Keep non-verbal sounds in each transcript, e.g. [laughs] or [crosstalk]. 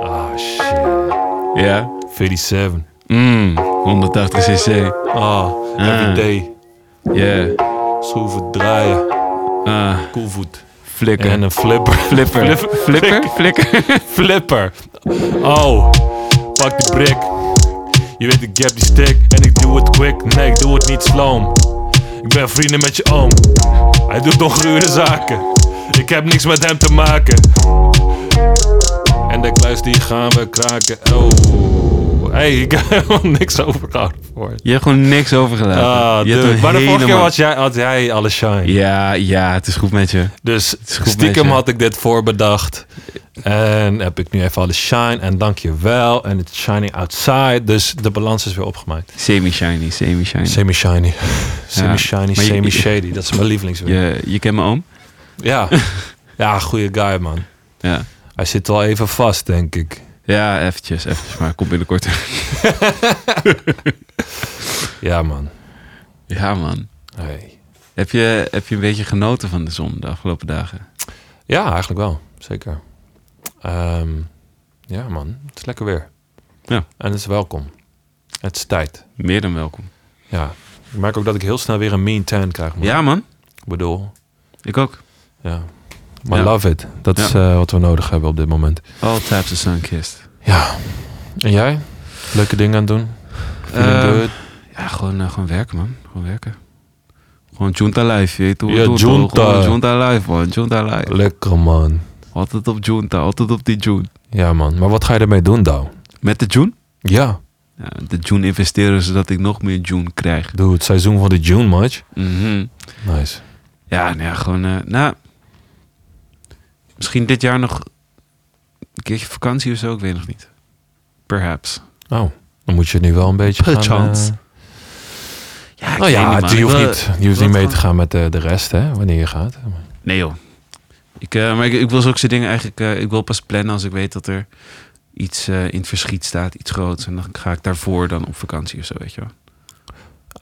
Oh shit. Ja. 37. Mm, 180 cc. Ah, everyday. Yeah. Schroeven draaien. Ah, Koelvoet. flikker. En een flipper. flipper. Flip- Flipper? Flikker. Flipper. Oh, pak die brik. Je weet, ik heb die stick en ik doe het quick. Nee, ik doe het niet sloom. Ik ben vrienden met je oom. Hij doet ongure zaken. Ik heb niks met hem te maken. En de kluis die gaan we kraken. Oh, hey, ik heb [laughs] helemaal niks overgehouden voor. Je hebt gewoon niks overgelaten. Ah, je hebt dude. een Maar de vorige keer helemaal- had jij, had jij alle shine. Ja, ja, het is goed met je. Dus is goed, stiekem meisje. had ik dit voorbedacht. En heb ik nu even alle shine. En dank je wel. En it's shining outside. Dus de balans is weer opgemaakt. Semi-shiny, semi-shiny. Semi-shiny. Semi-shiny, maar je- semi-shady. Dat is mijn lievelingswoord. je, je kent mijn oom? Ja. [laughs] Ja, goede guy, man. Ja. Hij zit wel even vast, denk ik. Ja, eventjes, eventjes. Maar kom binnenkort. Ja, man. [laughs] ja, man. Hey. Heb je, heb je een beetje genoten van de zon de afgelopen dagen? Ja, eigenlijk wel. Zeker. Ehm, ja, man. Het is lekker weer. Ja. En het is welkom. Het is tijd. Meer dan welkom. Ja. Ik merk ook dat ik heel snel weer een mean tan krijg. man. Ja, man. Ik bedoel, Ik ook. Ja. Maar Ja. love it. Dat Ja. is eh, wat we nodig hebben op dit moment. All types of sunkist. Ja. En jij? Leuke dingen aan het doen? Feeling Eh, good? Ja, gewoon, eh, gewoon werken, man. Gewoon werken. Gewoon junta life, je weet hoe het Ja, doet, junta. hoor. Gewoon junta life, man. Junta life. Lekker man. Altijd op junta, altijd op die June. Ja man. Maar wat ga je ermee doen dan? Met de June? Ja. Ja, de June investeren zodat ik nog meer June krijg. Doe het seizoen van de June match. Mhm. Nice. Ja, nou ja, gewoon, eh, nou... Misschien dit jaar nog een keertje vakantie of zo, ik weet nog niet. Perhaps. Oh. Dan moet je nu wel een beetje Perchance. gaan... eh, Oh Ja, ik nou weet ja, man. je Ik hoeft wil- niet, je hoeft wil niet mee het te gaan met eh, de, de rest, hè? Wanneer je gaat. Nee joh. Ik, eh, maar ik, ik wil zulke soort dingen eigenlijk... eh, ik wil pas plannen als ik weet dat er iets eh, in het verschiet staat. Iets groots. En dan ga ik daarvoor dan op vakantie of zo, weet je wel.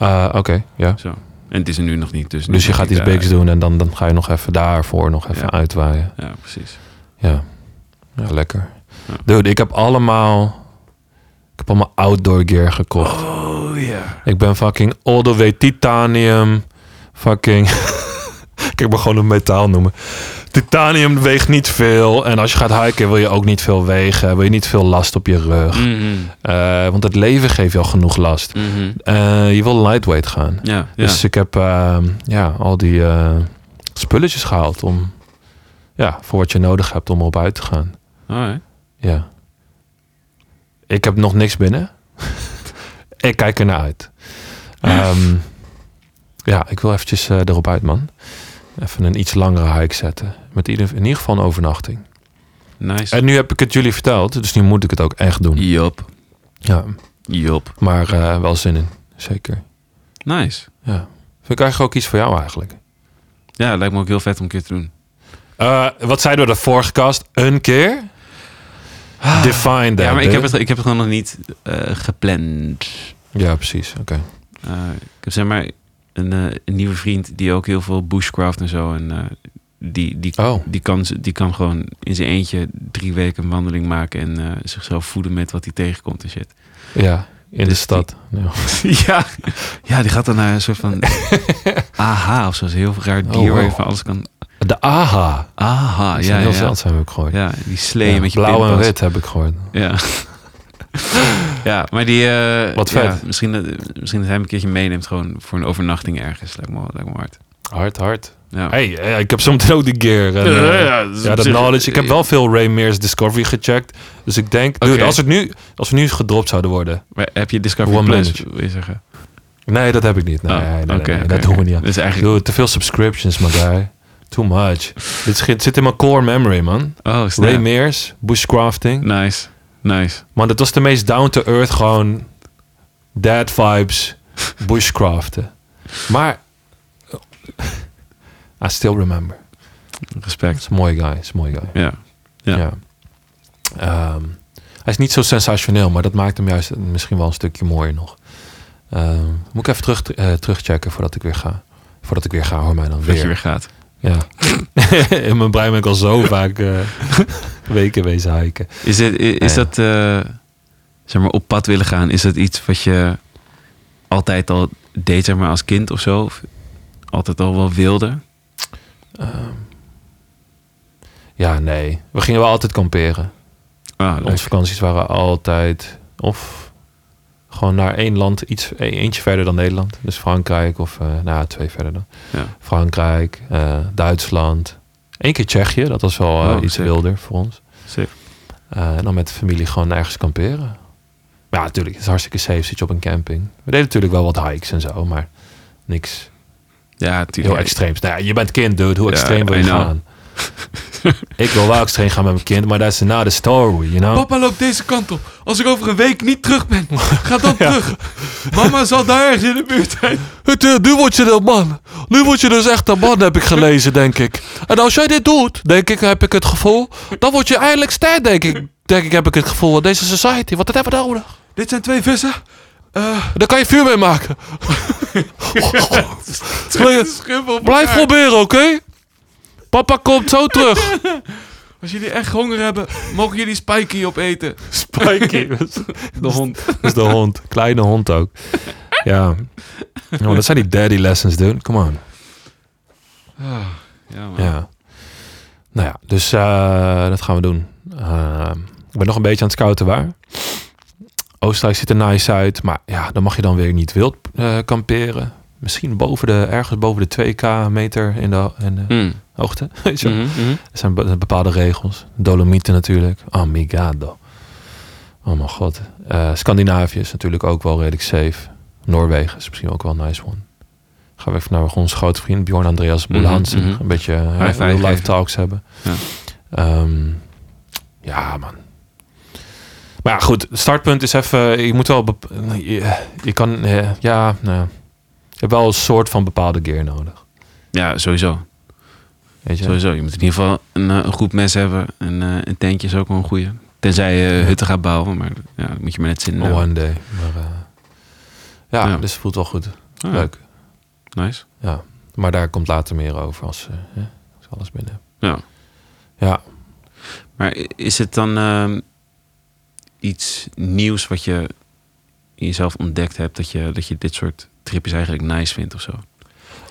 Eh, Oké, ja. Zo. En het is er nu nog niet. Dus, nu Dus je moet gaat ik, iets eh, bigs doen en dan, dan ga je nog even daarvoor nog even Ja. uitwaaien. Ja, precies. Ja. Ja, lekker. Ja. Dude, ik heb allemaal... Ik heb allemaal outdoor gear gekocht. Oh ja. Ik ben fucking all the way titanium. Fucking... [laughs] ik ben gewoon een metaal noemen. Titanium weegt niet veel. En als je gaat hiken wil je ook niet veel wegen. Wil je niet veel last op je rug. Mhm, Eh, want het leven geeft je al genoeg last. Eh, je wil lightweight gaan. Ja, ja. Dus ik heb ehm, ja, al die eh, spulletjes gehaald. Om, ja, voor wat je nodig hebt om op uit te gaan. Alright. Ja. Ik heb nog niks binnen. [laughs] ik kijk ernaar uit. Ehm, ja, ik wil eventjes eh, erop uit, man. Even een iets langere hike zetten. Met ieder, in ieder geval een overnachting. Nice. En nu heb ik het jullie verteld, dus nu moet ik het ook echt doen. Jop. Ja, Jop. maar eh, wel zin in. Zeker. Nice. Ja. Vind ik eigenlijk ook iets voor jou eigenlijk. Ja, lijkt me ook heel vet om een keer te doen. Eh, wat zeiden we de vorige kast? Een keer? Ah. Define that. ja, maar ik heb, dude. het, ik heb het gewoon nog niet eh, gepland. Ja, precies. Oké. Eh, ik heb zeg maar een, eh, een nieuwe vriend die ook heel veel bushcraft en zo. En eh, die, die, Oh. die, kan, z- die kan gewoon in zijn eentje drie weken een wandeling maken en eh, zichzelf voeden met wat hij tegenkomt en shit. Ja, in de Dus stad. [laughs] Ja. ja. [laughs] ja, die gaat dan naar een soort [laughs] van aha of zo. Een heel raar dier Oh, wow. waar je van alles kan. De AHA. Aha, Dat Ah, ja, heel ja. zeldzaam heb ik gehoord. Ja, die slee Ja, met je blauw en pinpas. wit heb ik gehoord. Ja. [laughs] ja, maar die... eh, Wat ja, vet. misschien, dat, misschien dat hij hem een keertje meeneemt gewoon voor een overnachting ergens. Lijkt me, wel- lijkt me hard. Hard, hard. Ja. Hey, eh, ik heb soms ook die gear. En, eh, ja, is op dat zich- knowledge. Ik heb wel veel Ray Mears Discovery gecheckt. Dus ik denk, dude, Oké. als, het nu, als we nu gedropt zouden worden. Maar heb je Discovery One Plus, minute. wil je zeggen? Nee, dat heb ik niet. Nee, Oh, nee, nee, nee, oké, nee, oké, dat oké. doen we niet. aan. Dus eigenlijk... Dude, te veel subscriptions, my guy. Too much. Dit schiet- zit in mijn core memory, man. Oh, Ray snap. Mears, bushcrafting. Nice, nice. Man, dat was de meest down-to-earth gewoon... Dad vibes, bushcraften. Maar... I still remember. Respect. is een mooie guy, is een mooie guy. Ja. Ja. Ehm, hij is niet zo sensationeel, maar dat maakt hem juist misschien wel een stukje mooier nog. Ehm, moet ik even terug, eh, terugchecken voordat ik weer ga. Voordat ik weer ga, hoor mij dan Dat je weer. weer gaat. Ja. [laughs] In mijn brein ben ik al zo vaak eh, weken wezen hiken. Is, dit, i- is Ja. dat, eh, zeg maar, op pad willen gaan, is dat iets wat je altijd al deed, zeg maar, als kind of zo? Of altijd al wel wilde? Ja, nee. We gingen wel altijd kamperen. Ah, leuk. Onze vakanties waren altijd... Of gewoon naar één land, iets, e- eentje verder dan Nederland. Dus Frankrijk of... eh nou, ja, twee verder dan. Ja. Frankrijk, eh, Duitsland. Eén keer Tsjechië. Dat was wel eh, Oh, iets sick. wilder voor ons. Sick. Eh, en dan met de familie gewoon ergens kamperen. Maar ja, natuurlijk, het is hartstikke safe, zit je op een camping. We deden natuurlijk wel wat hikes en zo, maar niks Ja, heel tuurlijk. extreems. Nou ja, je bent kind, dude. Hoe Ja, extreem wil je I know. [laughs] gaan? ik wil wel extreem gaan met mijn kind, maar dat is not the story, you know? Papa loopt deze kant op. Als ik over een week niet terug [laughs] ben, ga dan terug. Mama zal daar ergens in de buurt zijn. eh, nu word je een man. Nu word je dus echt een man, heb ik gelezen, denk ik. En als jij dit doet, denk ik, heb ik het gevoel... dan word je eindelijk sterk, denk ik. Denk ik, heb ik het gevoel. In deze society, wat dat hebben we nou nodig? Dit zijn twee vissen. Eh. Daar kan je vuur mee [laughs] maken. Schuffel op Blijf elkaar. proberen, oké? Papa komt zo [laughs] terug. Als jullie echt honger hebben, mogen jullie Spikey opeten. Spikey. De hond. Dat is de hond. Kleine hond ook. Ja. Ja, maar dat zijn die daddy lessons, dude. Come on. Ja, man. Ja. Nou ja, dus eh, dat gaan we doen. Eh, ik ben nog een beetje aan het scouten waar. Oostenrijk ziet er nice uit. Maar ja, dan mag je dan weer niet wild eh, kamperen. Misschien boven de, ergens boven de 2k meter in de, in de Mm. hoogte. [laughs] Weet je wel. Mhm, mhm. Er zijn be- bepaalde regels. Dolomieten natuurlijk. Amigado. Oh mijn god. Eh, Scandinavië is natuurlijk ook wel redelijk safe. Noorwegen is misschien ook wel een nice one. Gaan we even naar onze grote vriend Bjorn Andreas Mhm, Boelansen. mhm. Een beetje eh, High five real-life geven. talks hebben. Ja. Ehm, ja, man. Maar ja, goed. Het startpunt is even... Je moet wel... bep- Je, je kan... eh, ja, nou, ja. Je hebt wel een soort van bepaalde gear nodig. ja, sowieso. Weet je? Sowieso. Je moet in ieder geval een, eh, een goed mes hebben. En eh, een tentje is ook wel een goeie. Tenzij je eh, hutten gaat bouwen, maar ja, dat moet je maar net zin in hebben. One day. Maar, eh, ja, Ja. dus het voelt wel goed. Ah, Leuk. Nice. Maar daar komt later meer over als, eh, hè, als ik alles binnen heb. Ja. Ja. Maar i- is het dan ehm, iets nieuws wat je in jezelf ontdekt hebt? Dat je, dat je dit soort tripjes eigenlijk nice vindt of zo?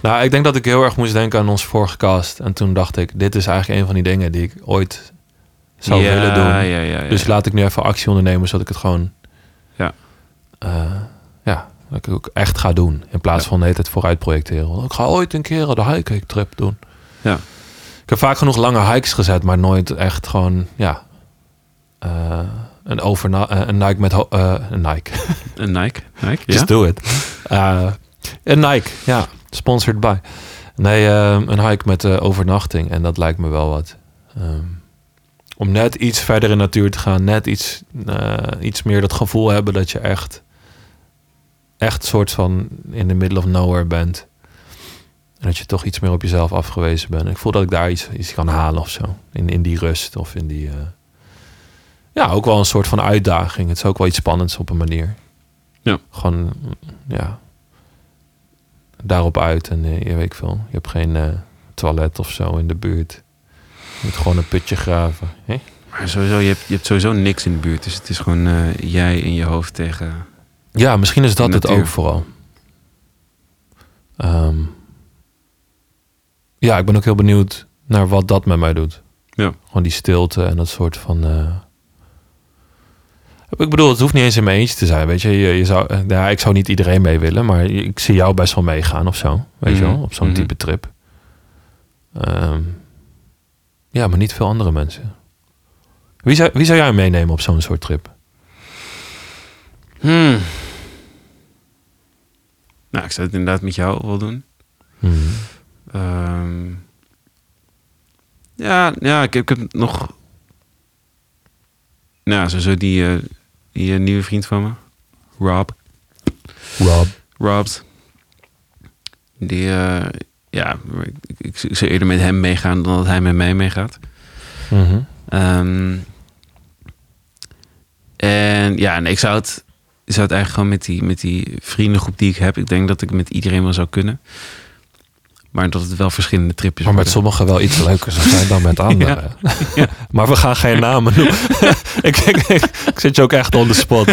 Nou, ik denk dat ik heel erg moest denken aan onze vorige cast. En toen dacht ik, dit is eigenlijk een van die dingen die ik ooit zou Ja, willen doen. Ja, ja, ja. Dus laat ik nu even actie ondernemen, zodat ik het gewoon... Ja. eh, ja, dat ik het ook echt ga doen. In plaats van de hele tijd vooruit projecteren. Want ik ga ooit een keer de hiking trip doen. Ja. Ik heb vaak genoeg lange hikes gezet, maar nooit echt gewoon, ja... eh, een, overna eh, een Nike met... ho- eh, een Nike. Een Nike? Nike? Just do it. Eh, en Nike, ja. Sponsored by. Nee, ehm, een hike met eh, overnachting. En dat lijkt me wel wat. Ehm, om net iets verder in de natuur te gaan. Net iets, eh, iets meer dat gevoel hebben dat je echt... Echt soort van in the middle of nowhere bent. En dat je toch iets meer op jezelf afgewezen bent. Ik voel dat ik daar iets, iets kan halen of zo. In, in die rust of in die... eh, ja, ook wel een soort van uitdaging. Het is ook wel iets spannends op een manier. Ja. Gewoon, mm, ja. Daarop uit en eh, je weet ik veel. Je hebt geen eh, toilet of zo in de buurt. Je moet gewoon een putje graven. Hè? Maar sowieso, je hebt, je hebt sowieso niks in de buurt. Dus het is gewoon eh, jij in je hoofd tegen... Ja, misschien is dat het Natuur. ook vooral. Ehm, ja, ik ben ook heel benieuwd naar wat dat met mij doet. Ja. Gewoon die stilte en dat soort van. eh, Ik bedoel, het hoeft niet eens in mijn eentje te zijn. Weet je, je, je zou, eh, ja, ik zou niet iedereen mee willen, maar ik zie jou best wel meegaan of zo. Weet je Mhm. wel, op zo'n Mhm. type trip. Ehm, ja, maar niet veel andere mensen. Wie zou, wie zou jij meenemen op zo'n soort trip? Hmm. Nou, ik zou het inderdaad met jou wel doen. Hmm. Ehm, ja, ja ik, heb- ik heb nog... Nou, sowieso die, eh, die eh, nieuwe vriend van me. Rob. Rob. Robs. Die, eh, ja, ik, ik, ik zou eerder met hem meegaan dan dat hij met mij meegaat. Mhm. Ehm, en ja, nee, ik zou het, ik zou het eigenlijk gewoon met die, met die vriendengroep die ik heb. Ik denk dat ik met iedereen wel zou kunnen. Maar dat het wel verschillende tripjes Maar met worden. sommigen wel iets leuker zijn dan [laughs] met anderen. [laughs] maar we gaan geen namen noemen. [laughs] ik, ik, ik, ik zit je ook echt on the spot.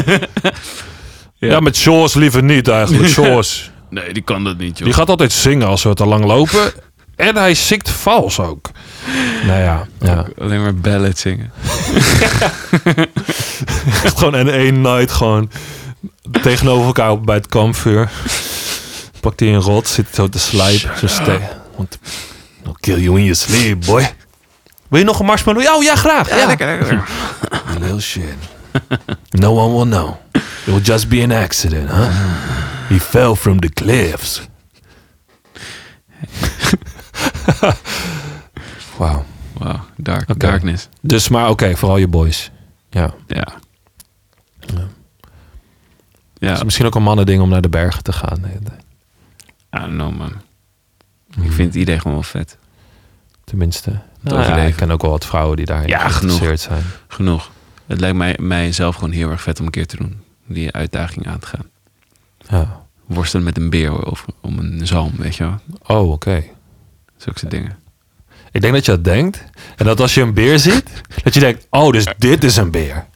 Ja, met Shores liever niet eigenlijk. Shores. Nee, die kan dat niet, joh. Die gaat altijd zingen als we te lang lopen. En hij zingt vals ook. Nou ja, ja. Alleen maar ballet zingen. [laughs] echt gewoon in één night gewoon tegenover elkaar op bij het kampvuur. Pakt hij een rot, zit zo te slijpen. Zo ste- want I'll kill you in your sleep, boy. Wil je nog een marshmallow? Oh ja, graag. Ja, lekker. Little shit. No one will know. It will just be an accident, huh? He fell from the cliffs. [laughs] Wauw. Wauw, dark, Oké. darkness. Dus, maar oké, vooral je boys. Ja. Ja. Ja, Het is misschien ook een mannen ding om naar de bergen te gaan. eh, I don't know, man. Ik vind het idee gewoon wel vet. Tenminste. Nou, ja, overleven. ik ken ook wel wat vrouwen die daarin Ja, geïnteresseerd zijn. Genoeg. Het lijkt mij, mijzelf gewoon heel erg vet om een keer te doen. Die uitdaging aan te gaan. Ja. Worstelen met een beer of om een zalm, weet je wel. Oh, oké. Zulke dingen. Ik denk dat je dat denkt. En dat als je een beer ziet, dat je denkt, oh, dus dit is een beer.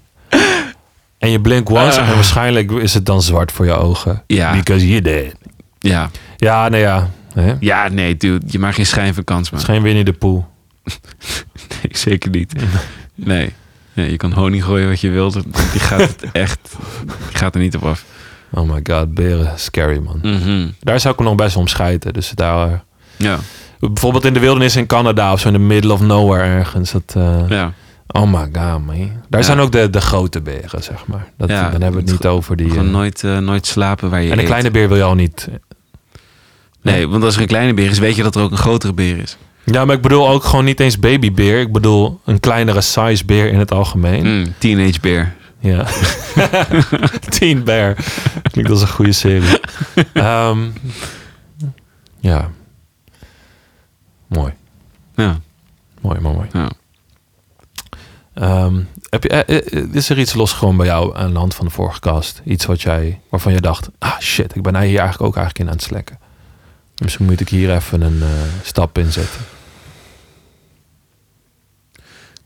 En je blink once en waarschijnlijk is het dan zwart voor je ogen. Eh. Ja. Because you did. Ja. Ja, nou ja. Hè? Het Ja, nee, dude. Je maakt geen schijn van kans, man. is geen Winnie de Pooh. Nee, [laughs] zeker niet. Nee. nee. Je kan honing gooien wat je wilt. Die gaat het echt... Die gaat er niet op af. Oh my god, beren. Scary, man. Mhm. Daar zou ik me nog best om scheiden. Dus daar... eh, Ja. Bijvoorbeeld in de wildernis in Canada of zo in de middle of nowhere ergens. Dat, eh, Ja. Oh my god, man. Daar Ja. zijn ook de, de grote beren, zeg maar. Dat, Ja, dan hebben we het dat niet over die... Gewoon eh, nooit, eh, nooit slapen waar je en een eet. kleine beer wil je al niet. Nee, want als er een kleine beer is, weet je dat er ook een grotere beer is. Ja, maar ik bedoel ook gewoon niet eens babybeer. Ik bedoel een kleinere size beer in het algemeen. Mm, teenage beer. Ja. Teen Bear. Klinkt als een goede serie. Ehm, ja. Mooi. Ja, Mooi, mooi, mooi. ja. Ehm, heb je, eh, eh, is er iets losgekomen bij jou aan de hand van de vorige kast? Iets wat jij, waarvan je dacht, ah shit, ik ben hier eigenlijk ook eigenlijk in aan het slekken. Misschien moet ik hier even een eh, stap in zetten.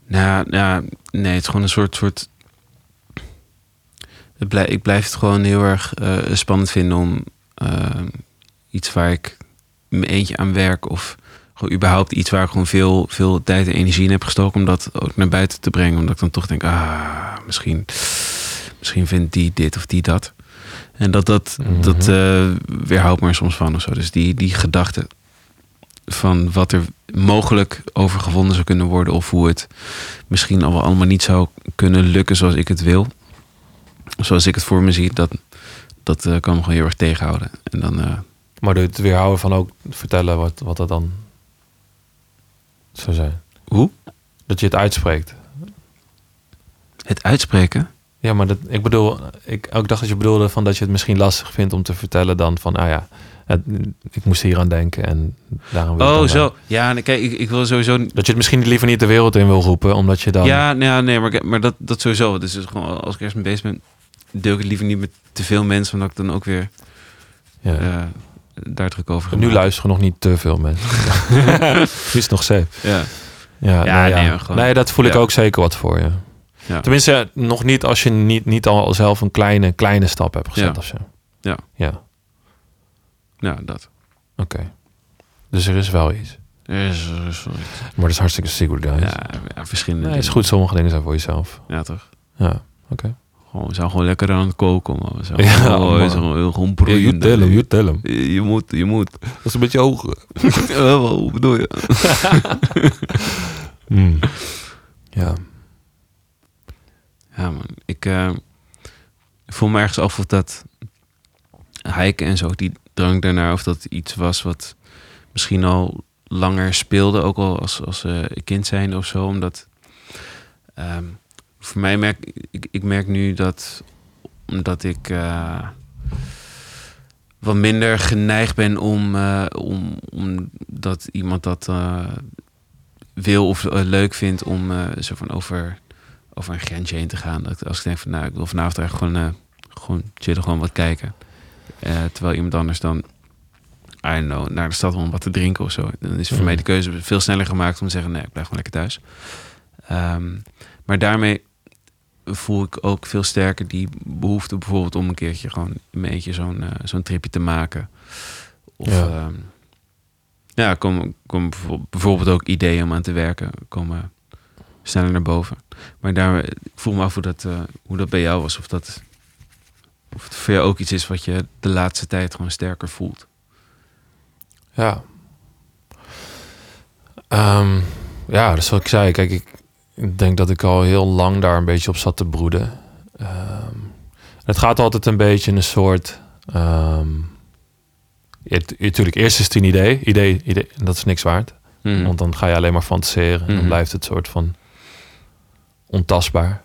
Nou, nou, nee, het is gewoon een soort... soort het blij- ik blijf het gewoon heel erg eh, spannend vinden om eh, iets waar ik mijn eentje aan werk... of gewoon überhaupt iets waar ik gewoon veel, veel tijd en energie in heb gestoken... om dat ook naar buiten te brengen. Omdat ik dan toch denk, ah, misschien, misschien vindt die dit of die dat. En dat, dat, dat eh weerhoudt me er soms van of zo. Dus die, die gedachte van wat er mogelijk over gevonden zou kunnen worden... of hoe het misschien al wel allemaal niet zou kunnen lukken zoals ik het wil. Zoals ik het voor me zie, dat, dat eh, kan me gewoon heel erg tegenhouden. En dan, eh, Maar het weerhouden van ook vertellen wat, wat dat dan zou zijn. hoe? Dat je het uitspreekt. Het uitspreken? Ja, maar dat, ik bedoel, ik, ik dacht dat je bedoelde van dat je het misschien lastig vindt om te vertellen dan van, ah ja, het, ik moest hier aan denken en daarom wil ik Oh, dan- zo. Ja, nee, kijk, ik, ik wil sowieso... niet- Dat je het misschien liever niet de wereld in wil roepen, omdat je dan... Ja, nee, ja, nee maar, ik- maar dat, dat sowieso. Dus het is gewoon, als ik ergens mee bezig ben, deel ik het liever niet met te veel mensen... omdat ik dan ook weer Ja. eh, daar druk over ga nu maken. luisteren nog niet te veel [laughs] mensen. nu is het nog safe. Ja. Ja, Ja, nee, ja. nee, Nee, maar gewoon- dat voel ik Ja. ook zeker wat voor je. Ja. Tenminste, nog niet als je niet, niet al zelf een kleine, kleine stap hebt gezet Ja. of zo. Ja. Ja, oké. ja, Nou, dat. Dus er is wel iets. Er is- er is wel iets. Maar dat is hartstikke secret, guys. Ja, ja, verschillende Nee, het is dingen. goed, sommige dingen zijn voor jezelf. Ja, toch? Ja, oké. Gewoon, we zijn gewoon lekker aan het koken, man. We zijn [laughs] Ja, gewoon, man. we zijn gewoon, gewoon broeiende. tell him. Je je moet, je moet. [laughs] Dat is een beetje hoog. Eh, wel, Hoe bedoel je? Mm. Ja. Ja, man. Ik eh, voel me ergens af of dat hiken en zo, die drang daarnaar, of dat iets was wat misschien al langer speelde, ook al als, als eh, kind zijn of zo. Omdat ehm, voor mij merk ik, ik merk nu dat omdat ik eh, wat minder geneigd ben om, eh, om, om dat iemand dat eh, wil of eh, leuk vindt om eh, zo van over, over een grensje heen te gaan. Dat ik- als ik denk van nou, ik wil vanavond eigenlijk gewoon, eh, gewoon chillen, gewoon wat kijken. Eh, terwijl iemand anders dan I don't know, naar de stad om wat te drinken of zo. Dan is voor mij de keuze veel sneller gemaakt om te zeggen, nee, ik blijf gewoon lekker thuis. Ehm, maar daarmee voel ik ook veel sterker die behoefte bijvoorbeeld om een keertje gewoon in mijn eentje zo'n eh, zo'n tripje te maken. Of Ja. ja, ja er komen kom bijvoorbeeld ook ideeën om aan te werken, komen sneller naar boven. Maar daar ik voel me af hoe dat, eh, hoe dat bij jou was. Of, dat, of het voor jou ook iets is wat je de laatste tijd gewoon sterker voelt. Ja. Ehm, ja, dat is wat ik zei. Kijk, ik denk dat ik al heel lang daar een beetje op zat te broeden. Ehm, het gaat altijd een beetje in een soort... ehm ja, tu- Natuurlijk, eerst is het een idee. idee, idee en dat is niks waard. Mm. Want dan ga je alleen maar fantaseren. En Mhm. dan blijft het soort van ontastbaar.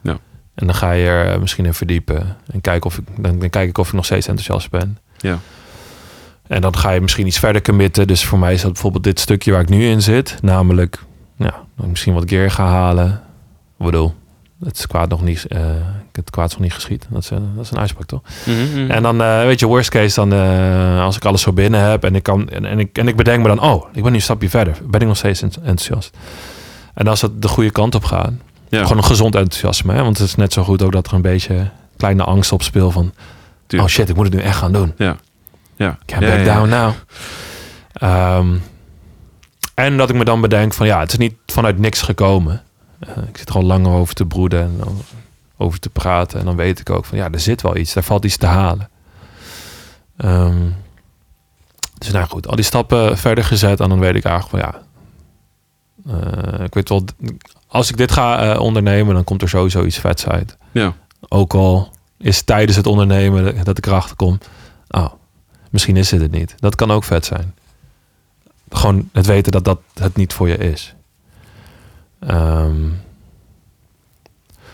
Ja. En dan ga je er eh, misschien in verdiepen. En kijken of ik, dan, dan kijk ik of ik nog steeds enthousiast ben. Ja. En dan ga je misschien iets verder committen. Dus voor mij is dat bijvoorbeeld dit stukje waar ik nu in zit. Namelijk, ja, dat ik misschien wat gear ga halen. Ik bedoel, het kwaad nog niet, eh, het kwaad is nog niet geschiet. Dat is, een- dat is een uitspraak, toch? Mhm. En dan, eh, weet je, worst case, dan eh, als ik alles zo binnen heb en ik, kan, en, en ik, en ik bedenk me dan, oh, ik ben nu een stapje verder. Ben ik nog steeds ent- enthousiast? En als het de goede kant op gaat, ja, gewoon een gezond enthousiasme. Hè? Want het is net zo goed ook dat er een beetje kleine angst op speel van, tuurlijk. oh shit, ik moet het nu echt gaan doen. ja. Can't Ja, back ja, down now. Ehm, en dat ik me dan bedenk van, ja, het is niet vanuit niks gekomen. Eh, ik zit gewoon lang over te broeden en dan over te praten. En dan weet ik ook van, ja, er zit wel iets. Daar valt iets te halen. Ehm, dus nou goed, al die stappen verder gezet. En dan weet ik eigenlijk van ja. eh, ik weet wel, als ik dit ga eh, ondernemen, dan komt er sowieso iets vets uit. Ja. Ook al is tijdens het ondernemen dat ik erachter kom. Oh, misschien is dit het niet. Dat kan ook vet zijn. Gewoon het weten dat dat het niet voor je is. Ehm,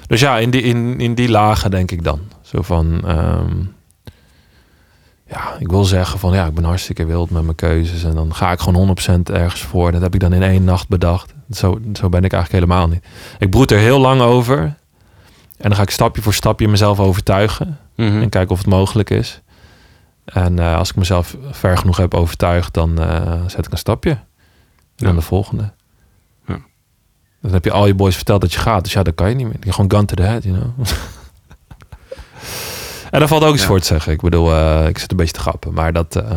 dus ja, in die, in, in die lagen denk ik dan. Zo van. ehm, ja, ik wil zeggen van ja, ik ben hartstikke wild met mijn keuzes. En dan ga ik gewoon 100% ergens voor. Dat heb ik dan in één nacht bedacht. Zo, zo ben ik eigenlijk helemaal niet. Ik broed er heel lang over. En dan ga ik stapje voor stapje mezelf overtuigen. Mhm. En kijken of het mogelijk is. En eh, als ik mezelf ver genoeg heb overtuigd, dan eh, zet ik een stapje. En dan Ja. de volgende. Ja. Dan heb je al je boys verteld dat je gaat. Dus ja, dat kan je niet meer. Je gewoon gun to the head, you know. [laughs] en daar valt ook iets Ja. voor te zeggen. Ik bedoel, eh, ik zit een beetje te grappen. Maar dat, eh,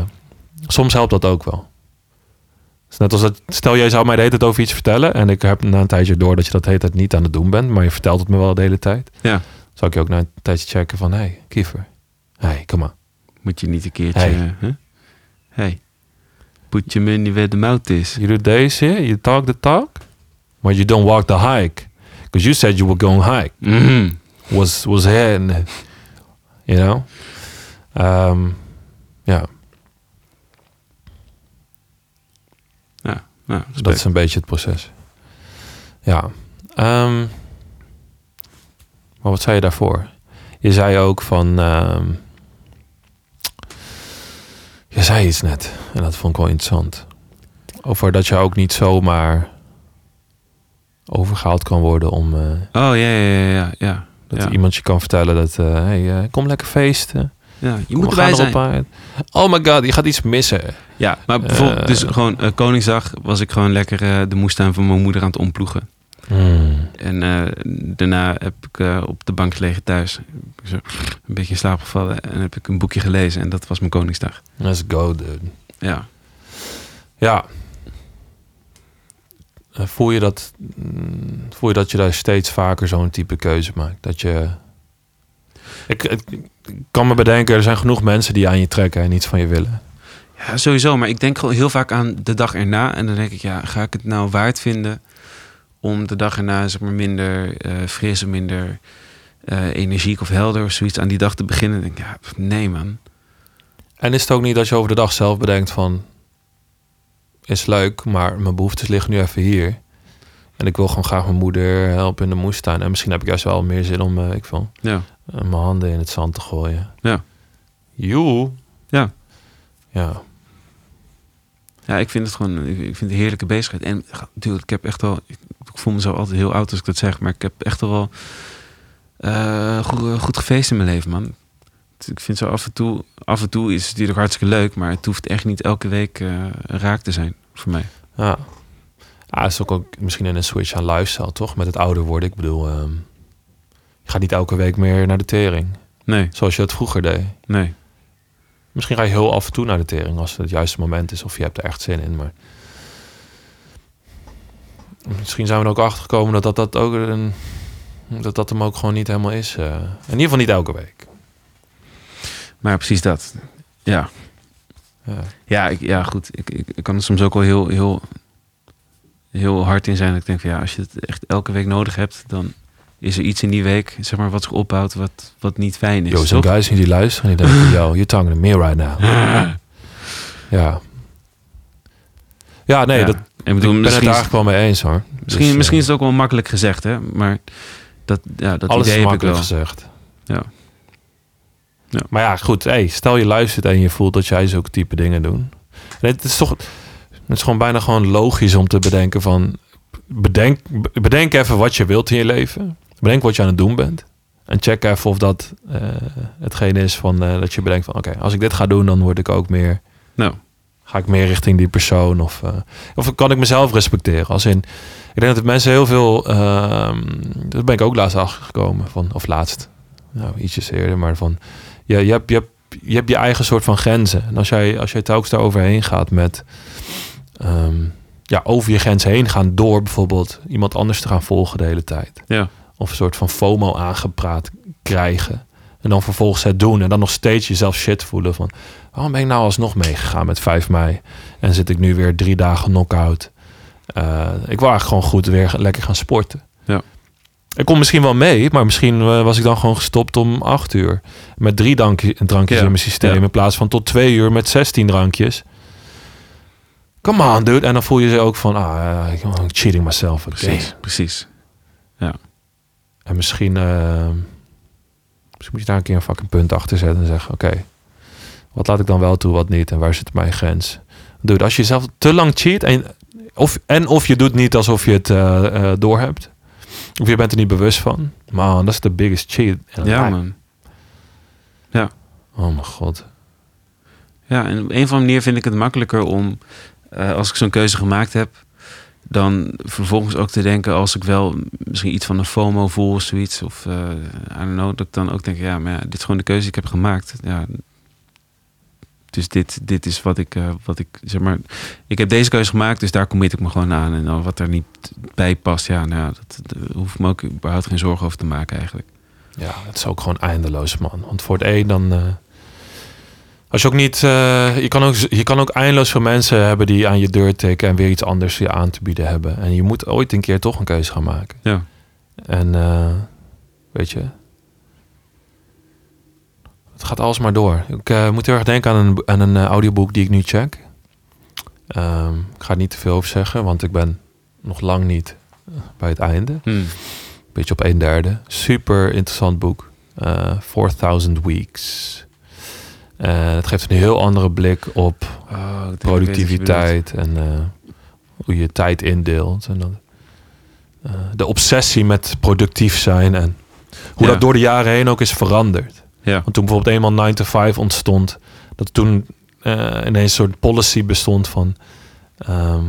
soms helpt dat ook wel. Het is net als dat, stel jij zou mij de hele tijd over iets vertellen. En ik heb na een tijdje door dat je dat de hele tijd niet aan het doen bent. Maar je vertelt het me wel de hele tijd. Ja. Zou ik je ook na een tijdje checken van, hé, hey, Kiefer. Hé, hey, kom maar. Moet je niet een keertje... Hey. eh, hè? hey. put your money where the mouth is. You do this here, you talk the talk. But you don't walk the hike. Because you said you were going hike. Mhm. Was, was here and, you know. Ehm, ja, Ja, nou, dus dat is een beetje het proces. Ja. ehm, maar wat zei je daarvoor? Je zei ook van... ehm, je zei iets net. En dat vond ik wel interessant. Over dat je ook niet zomaar overgehaald kan worden om... eh, Oh, ja, ja, ja, ja. ja. dat ja. iemand je kan vertellen dat... eh, hey, eh, kom lekker feesten. ja je Kom, moet we gaan erbij zijn. erop uit. Oh my god, je gaat iets missen. Ja, maar bijvoorbeeld, dus Eh. gewoon eh, Koningsdag was ik gewoon lekker eh, de moestuin van mijn moeder aan het omploegen. En eh, daarna heb ik eh, op de bank gelegen thuis. Ik zo een beetje in slaap gevallen en heb ik een boekje gelezen en dat was mijn Koningsdag. Let's go, dude. Ja, Ja. Eh, Voel je dat, mm, voel je dat je daar steeds vaker zo'n type keuze maakt? Dat je. Ik, ik, ik kan me bedenken, er zijn genoeg mensen die aan je trekken en iets van je willen. ja sowieso. Maar ik denk gewoon heel vaak aan de dag erna. En dan denk ik, ja, ga ik het nou waard vinden om de dag erna zeg maar, minder eh, fris en minder eh, energiek of helder of zoiets aan die dag te beginnen? Dan denk ik, ja, pff, nee man. En is het ook niet dat je over de dag zelf bedenkt van. Is leuk, maar mijn behoeftes liggen nu even hier. En ik wil gewoon graag mijn moeder helpen in de moestuin. En misschien heb ik juist wel meer zin om, eh, ik wil, Ja. eh, mijn handen in het zand te gooien. Ja. Joe. Ja. Ja. Ja, ik vind het gewoon ik ik vind het een heerlijke bezigheid. En dude, ik heb echt wel. Ik, ik voel me zo altijd heel oud als ik eh, dat zeg, maar ik heb echt al wel eh, goed, goed gefeest in mijn leven, man. ik vind zo af en toe, af en toe is het natuurlijk hartstikke leuk, maar het hoeft echt niet elke week eh, raak te zijn voor mij. Ja. Ja, is ook, ook misschien een switch aan lifestyle, toch? Met het ouder worden. Ik bedoel, ehm, je gaat niet elke week meer naar de tering. Nee, Zoals je het vroeger deed. nee. Misschien ga je heel af en toe naar de tering als het het juiste moment is. Of je hebt er echt zin in. Maar misschien zijn we er ook achter gekomen dat dat, dat ook een. Dat dat hem ook gewoon niet helemaal is. eh. in ieder geval niet elke week. Maar precies dat. Ja, Ja. ja, ik, ja goed. Ik, ik, ik kan er soms ook wel heel, heel, heel hard in zijn. Dat ik denk van ja, als je het echt elke week nodig hebt, dan is er iets in die week, zeg maar, wat zich opbouwt, wat, wat niet fijn is. Yo, zo'n toch? guys die luisteren en die denken, yo, you're talking to me right [laughs] now. ja. Ja, nee, Ja. dat, En ik ik ben bedoel, het misschien, is- eigenlijk wel mee eens hoor. misschien, Dus, eh, misschien is het ook wel makkelijk gezegd, hè? Maar dat, ja, dat alles idee is heb ik wel. makkelijk gezegd. Ja. Ja. Maar ja, goed, hey, stel je luistert en je voelt dat jij zulke type dingen doet. En het is toch, het is gewoon bijna gewoon logisch om te bedenken van, bedenk, bedenk even wat je wilt in je leven. Bedenk wat je aan het doen bent. En check even of dat eh hetgeen is van, eh, dat je bedenkt van, oké, als ik dit ga doen, dan word ik ook meer Nou, Ga ik meer richting die persoon? Of, eh, of kan ik mezelf respecteren? Als in, ik denk dat mensen heel veel. ehm dat ben ik ook laatst achtergekomen. Van, of laatst. Nou, ietsjes eerder, maar van. Je, je, hebt, je, hebt, je hebt je eigen soort van grenzen. En als jij, als jij telkens daar overheen gaat met. ehm, ja, over je grens heen gaan door bijvoorbeeld iemand anders te gaan volgen de hele tijd. ja. Of een soort van FOMO aangepraat krijgen. En dan vervolgens het doen. En dan nog steeds jezelf shit voelen. Van, waarom ben ik nou alsnog meegegaan met 5 mei? En zit ik nu weer drie dagen knock-out? Eh, ik wil eigenlijk gewoon goed weer lekker gaan sporten. Ja. Ik kon misschien wel mee, maar misschien eh, was ik dan gewoon gestopt om 8 uur. Met drie drankje- drankjes Ja. in mijn systeem. Ja. In plaats van tot twee uur met 16 drankjes. Come on, dude. En dan voel je je ook van, ah, eh, I'm cheating myself. again. Precies, precies. En misschien, eh, misschien moet je daar een keer een fucking punt achter zetten en zeggen: Oké, wat laat ik dan wel toe, wat niet en waar zit mijn grens? Dude, als je zelf te lang cheat en of, en of je doet niet alsof je het eh, eh, doorhebt, of je bent er niet bewust van, man, dat is de biggest cheat. in Ja, life. man. Oh mijn god. Ja, en op een of andere manier vind ik het makkelijker om, eh, als ik zo'n keuze gemaakt heb, dan vervolgens ook te denken, als ik wel misschien iets van een FOMO voel of zoiets, of eh I don't know, dat ik dan ook denk, ja, maar ja, dit is gewoon de keuze die ik heb gemaakt. Ja, dus dit, dit is wat ik, eh, wat ik, zeg maar, ik heb deze keuze gemaakt, dus daar commit ik me gewoon aan. En dan wat er niet bij past, ja, nou, ja, dat, daar hoef ik me ook überhaupt geen zorgen over te maken eigenlijk. Ja, het is ook gewoon eindeloos, man. Want voor het een dan. eh, als je ook niet. eh, je, kan ook, je kan ook eindeloos veel mensen hebben die aan je deur tikken en weer iets anders je aan te bieden hebben. En je moet ooit een keer toch een keuze gaan maken. Ja. En eh, weet je. Het gaat alles maar door. Ik eh, moet heel erg denken aan een, aan een eh, audioboek die ik nu check. Ehm, ik ga er niet te veel over zeggen, want ik ben nog lang niet eh, bij het einde Hmm. beetje op een derde. Super interessant boek. Eh 4000 Weeks. Eh het geeft een heel andere blik op productiviteit en eh, hoe je tijd indeelt. En dan, eh, de obsessie met productief zijn en hoe Ja. dat door de jaren heen ook is veranderd. Ja, Want toen bijvoorbeeld eenmaal 9 to 5 ontstond, dat toen eh, ineens een soort policy bestond van. ehm,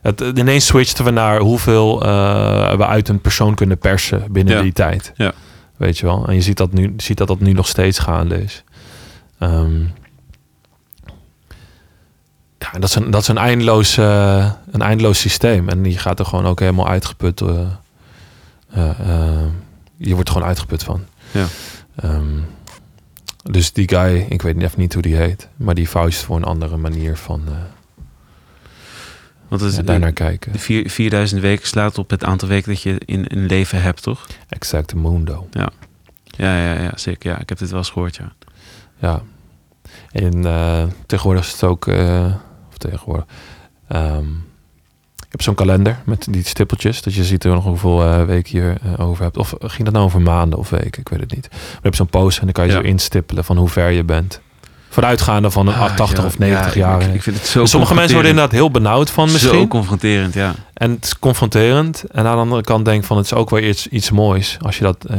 het, het- ineens switchten we naar hoeveel eh, we uit een persoon kunnen persen binnen Ja. die tijd. Ja. Weet je wel. En je ziet dat, nu, je ziet dat dat nu nog steeds gaande is. Ehm, ja, en dat is een, dat is een, eindeloos, eh, een eindeloos systeem. En je gaat er gewoon ook helemaal uitgeput. eh, eh, eh, je wordt er gewoon uitgeput van. Ja. Ehm, dus die guy, ik weet even niet hoe die heet, maar die vuist voor een andere manier van eh, want het, ja, daarnaar kijken. De vier- 4000 weken slaat op het aantal weken dat je in een leven hebt, toch? Exacte Mundo. Ja, ja, ja, zeker. Ja, ik heb dit wel eens gehoord, ja. Ja. En eh, tegenwoordig is het ook... eh, of tegenwoordig... ehm, ik heb zo'n kalender met die stippeltjes. Dat je ziet er nog hoeveel eh, weken je eh, over hebt. Of ging dat nou over maanden of weken? Ik weet het niet. Maar je hebt zo'n post en dan kan je Ja. zo instippelen van hoe ver je bent. Vooruitgaande van een Ah, 80 ja, of 90 ja, jaar. Ik, ik vind het zo Sommige mensen worden confronterend. inderdaad heel benauwd van misschien. Zo confronterend, ja. En het is confronterend. En aan de andere kant denk ik van het is ook wel iets, iets moois. Als je dat eh,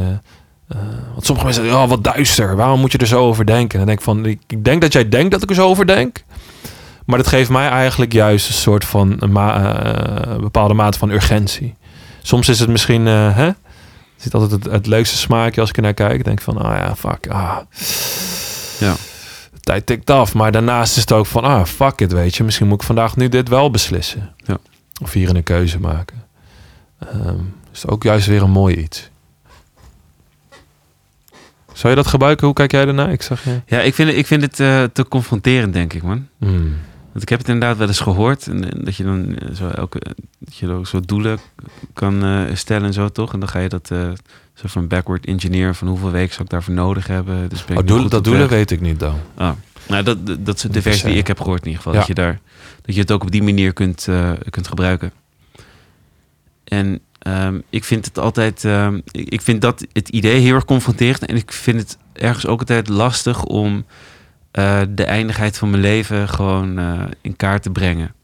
Eh, want sommige mensen zeggen, oh, wat duister. Waarom moet je er zo over denken? En dan denk ik van, ik, ik denk dat jij denkt dat ik er zo over denk. Maar dat geeft mij eigenlijk juist een soort van een ma- eh, bepaalde mate van urgentie. Soms is het misschien, eh, hè? Er zit altijd het, het leukste smaakje als ik er naar kijk. Ik denk van, ah ja, fuck. Ah. Ja. De tijd tikt af. Maar daarnaast is het ook van, ah, fuck it, weet je. Misschien moet ik vandaag nu dit wel beslissen. Ja. Of hierin een keuze maken. Ehm is ook juist weer een mooi iets. Zou je dat gebruiken? Hoe kijk jij ernaar? Ik zag je. Ja, ik vind, ik vind het eh, te confronterend, denk ik, man. Hmm. Want ik heb het inderdaad wel eens gehoord. En, en dat je dan eh, zo, elke, dat je ook zo doelen kan eh, stellen en zo, toch? En dan ga je dat eh soort van backward engineer van hoeveel weken zou ik daarvoor nodig hebben. Dus ben ik Oh, nu doel- goed dat op doelen weg? weet ik niet dan. Ah, nou, dat, dat- dat is de Moet ik versie die zeggen. ik heb gehoord in ieder geval. Ja. Dat, je daar, dat je het ook op die manier kunt, eh, kunt gebruiken. En ehm, ik vind het altijd... ehm, ik, ik vind dat het idee heel erg confronterend. En ik vind het ergens ook altijd lastig om eh, de eindigheid van mijn leven gewoon eh, in kaart te brengen.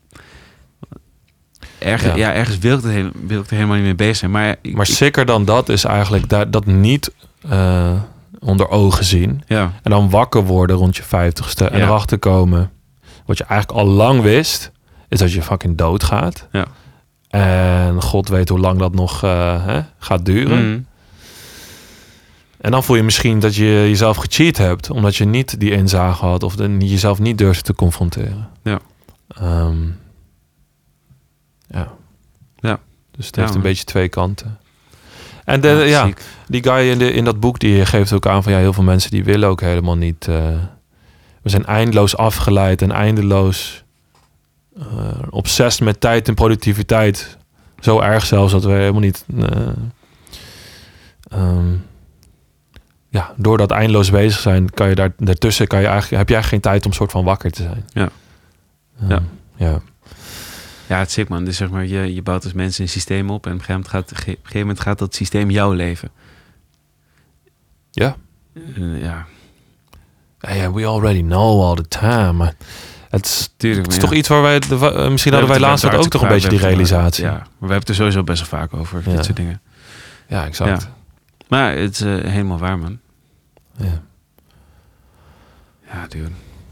Erg, Ja. ja. ergens wil ik, er helemaal, wil ik er helemaal niet mee bezig zijn. Maar, ik- Maar ik- zeker dan dat is eigenlijk daar, dat niet eh, onder ogen zien. ja, En dan wakker worden rond je vijftigste. En Ja. erachter komen. Wat je eigenlijk al lang wist. Is dat je fucking doodgaat. Ja. En god weet hoe lang dat nog eh, hè, gaat duren. Mm. En dan voel je misschien dat je jezelf gecheat hebt. Omdat je niet die inzage had. Of de- jezelf niet durfde te confronteren. Ja. Ehm, ja. Ja. Dus het Ja, heeft een man. beetje twee kanten. En de, Ja, ja, ziek. die guy in, de, in dat boek die geeft ook aan van ja, heel veel mensen die willen ook helemaal niet. eh, we zijn eindeloos afgeleid en eindeloos eh obsessed met tijd en productiviteit. Zo erg zelfs dat we helemaal niet. eh, ehm, ja, door dat eindeloos bezig zijn, kan je daar daartussen kan je eigenlijk, heb je eigenlijk geen tijd om soort van wakker te zijn. Ja. Ehm, Ja. ja. Ja, het is sick man. Dus zeg maar, je, je bouwt als mensen een systeem op en op een gegeven moment gaat, ge- op een gegeven moment gaat dat systeem jouw leven. Ja. Eh, ja, Hey, we already know all the time. maar Het is, tuurlijk. het is maar toch ja. iets waar wij, de- wa- eh, misschien hadden wij We laatst hebben het ook er toch een beetje die hartstikke vaak over realisatie. gehad. Ja, maar we hebben het er sowieso best wel vaak over, Ja. dit soort dingen. Ja, exact. Ja. Maar het is eh, helemaal waar, man. Ja. Ja, dude.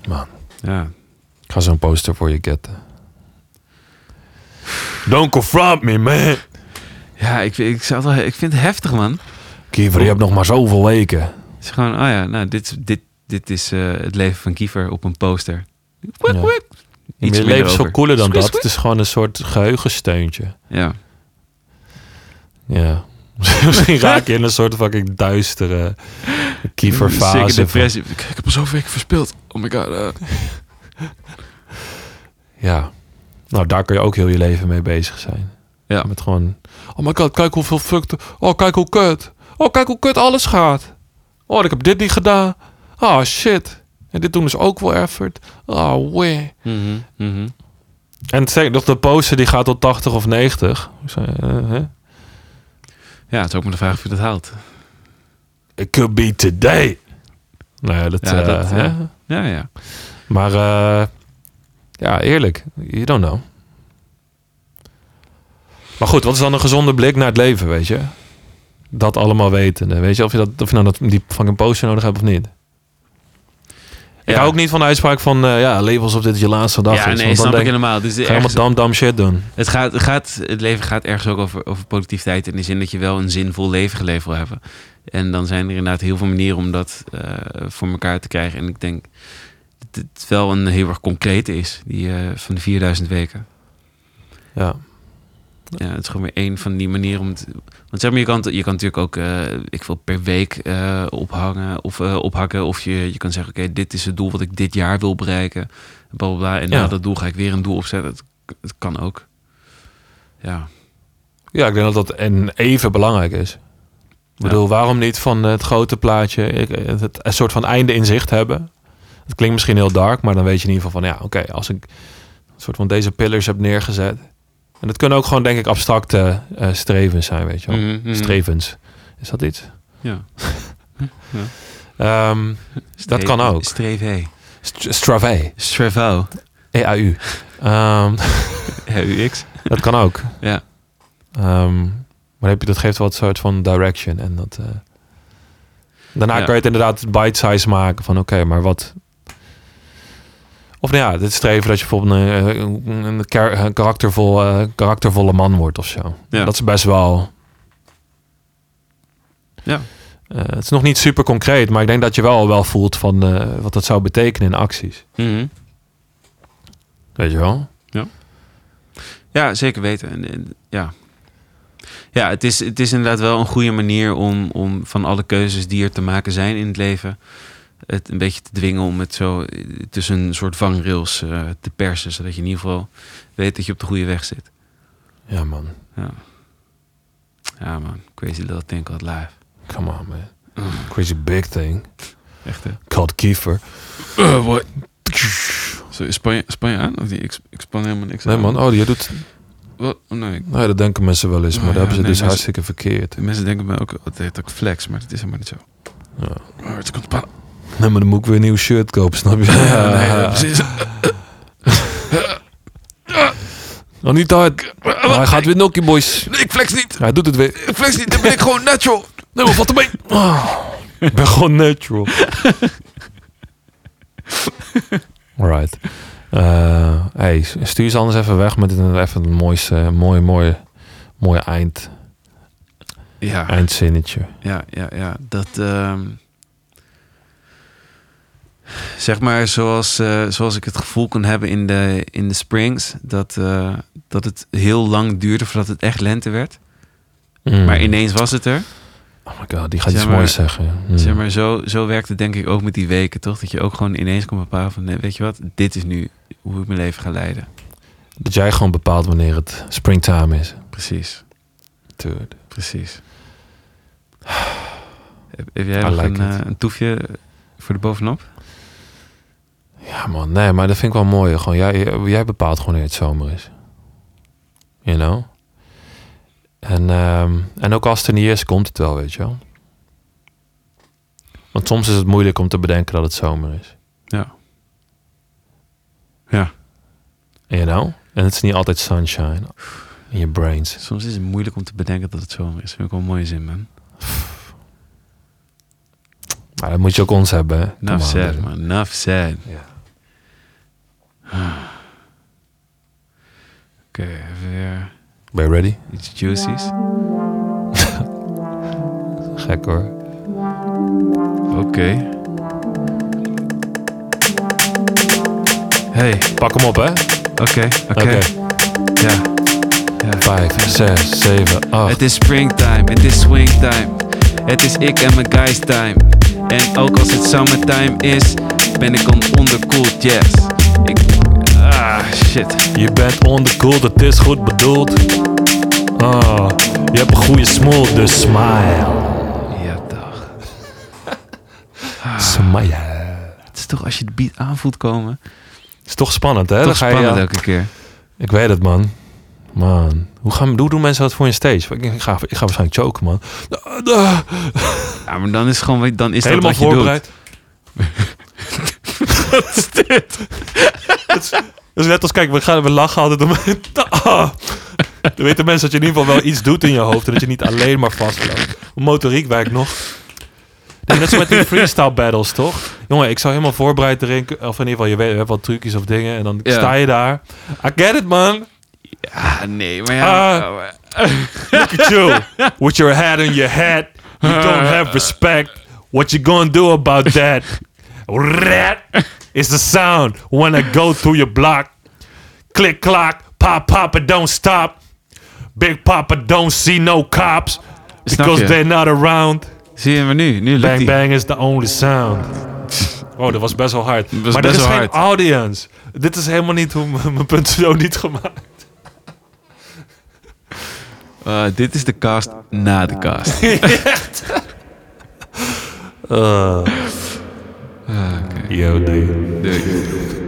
Man. Ja. Ik ga zo'n poster voor je getten. Don't confront me, man. Ja, ik, vind- ik, zou het wel, ik vind het heftig, man. Kiever, je hebt nog maar zoveel weken. Het is gewoon, oh ja, nou, dit, is- dit, dit is eh, het leven van Kiefer op een poster. Wik, Ja. wik. Je Iets minder leven is veel over. cooler dan Squeeze, dat. Het is gewoon een soort geheugensteuntje. Ja. Ja. [laughs] Misschien raak je in een soort fucking duistere Zeker kieverfase. van- depressie. [laughs] Ik ik heb er zoveel weken verspild. Oh my god. eh. Ja. Nou, daar kun je ook heel je leven mee bezig zijn. Ja. Met gewoon... Oh my god, kijk hoeveel fucked... Oh, kijk hoe kut. Oh, kijk hoe kut alles gaat. Oh, ik heb dit niet gedaan. Ah, shit. En dit doen is ook wel effort. Oh, wee. Mhm, mhm. En zeker dat de poster die gaat tot 80 of 90. Zo, eh, hè? Ja, het is ook maar de vraag of je dat haalt. It could be today. Nou ja, dat... Ja, eh, dat, hè? ja. Ja, ja. Maar eh, ja, eerlijk. You don't know. Maar goed, wat is dan een gezonde blik naar het leven, weet je? Dat allemaal wetende. Weet je of je, dat, of je nou dat, die fucking poster nodig hebt of niet? Ik Ja. hou ook niet van de uitspraak van... eh, ja, leef alsof dit je laatste dag ja, is. want nee, dan snap ik denk ik... helemaal. Dus Ga ergens- helemaal dam dam shit doen. het, gaat, het, gaat, het leven gaat ergens ook over, over productiviteit. In de zin dat je wel een zinvol leven geleefd wil hebben. En dan zijn er inderdaad heel veel manieren om dat eh, voor elkaar te krijgen. En ik denk dat het wel een heel erg concrete is. Die eh, van de 4000 weken. Ja. Ja, het is gewoon weer één van die manieren om het... Want zeg maar, je kan, het- je kan natuurlijk ook, eh, ik wil per week eh, ophangen of eh, ophakken. Of je, je kan zeggen, oké, dit is het doel wat ik dit jaar wil bereiken. Bla, bla, bla. En Ja. na dat doel ga ik weer een doel opzetten. Het, het kan ook. Ja, Ja, ik denk dat dat en even belangrijk is. Ik bedoel, waarom niet van eh, het grote plaatje ik, eh, het, een soort van einde in zicht hebben? Het klinkt misschien heel dark, maar dan weet je in ieder geval van ja, oké, als ik een soort van deze pillars heb neergezet. En dat kunnen ook gewoon, denk ik, abstracte eh, strevens zijn, weet je wel. Mhm, mhm. Strevens. Is dat iets? Ja. Ehm Dat kan ook. Streef st- Stravae. Stravo. E-A-U. E Ehm, UX. dat kan ook. Ja. Ehm, maar heb je, dat geeft wel een soort van direction. En dat, eh, Daarna Ja. kan je het inderdaad bite-size maken van oké, maar wat... Of nou ja, het streven dat je bijvoorbeeld een, eh, een, een kar- een karaktervol, eh, karaktervolle man wordt of zo. Ja. Dat is best wel... Ja. Eh, het is nog niet super concreet, maar ik denk dat je wel, wel voelt van eh, wat dat zou betekenen in acties. Mhm. Weet je wel? Ja, zeker weten. En, en- ja, ja het, is, het is inderdaad wel een goede manier om, om van alle keuzes die er te maken zijn in het leven. het een beetje te dwingen om het zo eh, tussen een soort vangrails eh, te persen. Zodat je in ieder geval weet dat je op de goede weg zit. Ja man, Ja, man. Crazy Little Thing Called Life. come on man. Mm. Crazy big thing. Echt, hè? Called Kiefer. Zo, span, je, span je aan? Of die, ik, ik span helemaal niks Nee aan. man, oh die doet... Wat? Oh, nee. ik- Nee, dat denken mensen wel eens, maar Oh, dat ja, hebben ze nee, dus mensen- hartstikke verkeerd. de Mensen denken bij ook, het heet ook flex, maar dat is helemaal niet zo. Ja. Oh, het is ontspannen. Nee, maar dan moet ik weer een nieuw shirt kopen, snap je? [laughs] nee, nee, precies. Nog niet hard. Maar hij gaat weer nokkie, boys. Nee, ik flex niet. Hij doet het weer. Ik flex niet. Dan ben ik gewoon natural. Nee, maar wat ermee? Ah, Ik ben gewoon natural. Alright. Eh, hey, stuur ze anders even weg met een, even een mooiste, mooi, mooi, mooi eind, Ja. eindzinnetje. Ja, ja, ja. Dat. ehm, zeg maar zoals, eh, zoals ik het gevoel kon hebben in de, in de Springs. Dat, eh, dat het heel lang duurde voordat het echt lente werd. Mm. Maar ineens was het er. Oh my god, die gaat Zeg iets maar- moois zeggen. Mm. Zeg maar zo, zo werkt het denk ik ook met die weken, toch? Dat je ook gewoon ineens kan bepalen van. Nee, weet je wat? Dit is nu hoe ik mijn leven ga leiden. Dat jij gewoon bepaalt wanneer het springtime is. Precies, Dude. precies. Heb, heb jij I nog like een, it. eh, een toefje voor de bovenop? Ja man, nee, maar dat vind ik wel mooi. Gewoon, jij, jij bepaalt gewoon wanneer het zomer is. You know? En, ehm, en ook als het er niet is, komt het wel, weet je wel. Want soms is het moeilijk om te bedenken dat het zomer is. Ja. Ja. You know? En het is niet altijd sunshine in je brains. Soms is het moeilijk om te bedenken dat het zomer is. Vind ik wel een mooie zin, man. Maar dat moet je ook ons hebben, hè? Come Enough on, said, dude. Nou, man. Enough said. Ja. Ah. [sighs] Oké, even weer Ben je ready? iets juicies. Gek hoor. Oké. Hey, Pak hem op, hè? oké, oké. Ja. ja. Vijf, zes, zeven, acht. Het is springtime, het is swingtime. Het is ik en mijn guys time. En ook als het summertime is, ben ik on ondercooled, yes. Ik... Ah, shit. Je bent onderkoeld, het is goed bedoeld. Ah, je hebt een goede smoel, dus smile. Ja, dag. Smile. Het is toch als je de beat aanvoelt komen. Is toch spannend, hè? Dan toch ga je, spannend eh, elke keer. Ik weet het, man. Man, hoe, gaan, hoe doen mensen dat voor een stage? Ik, ik ga, ik ga waarschijnlijk choken, man. Ah, ah, Ja, maar dan is gewoon wat- dan is Helemaal dat wat je doet. [laughs] voorbereid. wat is dit? dat, is, dat is net als, kijk, we, gaan, we lachen altijd om... Ah. Dan weten mensen dat je in ieder geval wel iets doet in je hoofd. En dat je niet alleen maar vastloopt. Motoriek werkt nog. Nee, net zo met die [laughs] freestyle battles, toch? Jongen, ik zou helemaal voorbereid erin... Of in ieder geval, je weet, je hebt wat trucjes of dingen. En dan Ja. sta je daar. I get it, man. Ah, nee, maar ja. Oh, eh. Ah. Look at you. With your hat on your head. You don't have respect. What you gonna do about that? Rat is the sound when I go through your block. Click clock. Pop papa don't stop. Big papa don't see no cops. Snap Because je? they're not around. Zie je maar nu? Nu lukt Bang die. bang is the only sound. Oh, dat was best wel hard. was maar best dit is wel geen hard. audience. Dit is helemaal niet hoe m- mijn punt zo niet gemaakt. Eh, dit is de cast na [laughs] de cast. Ah. Yo, dude. Doei.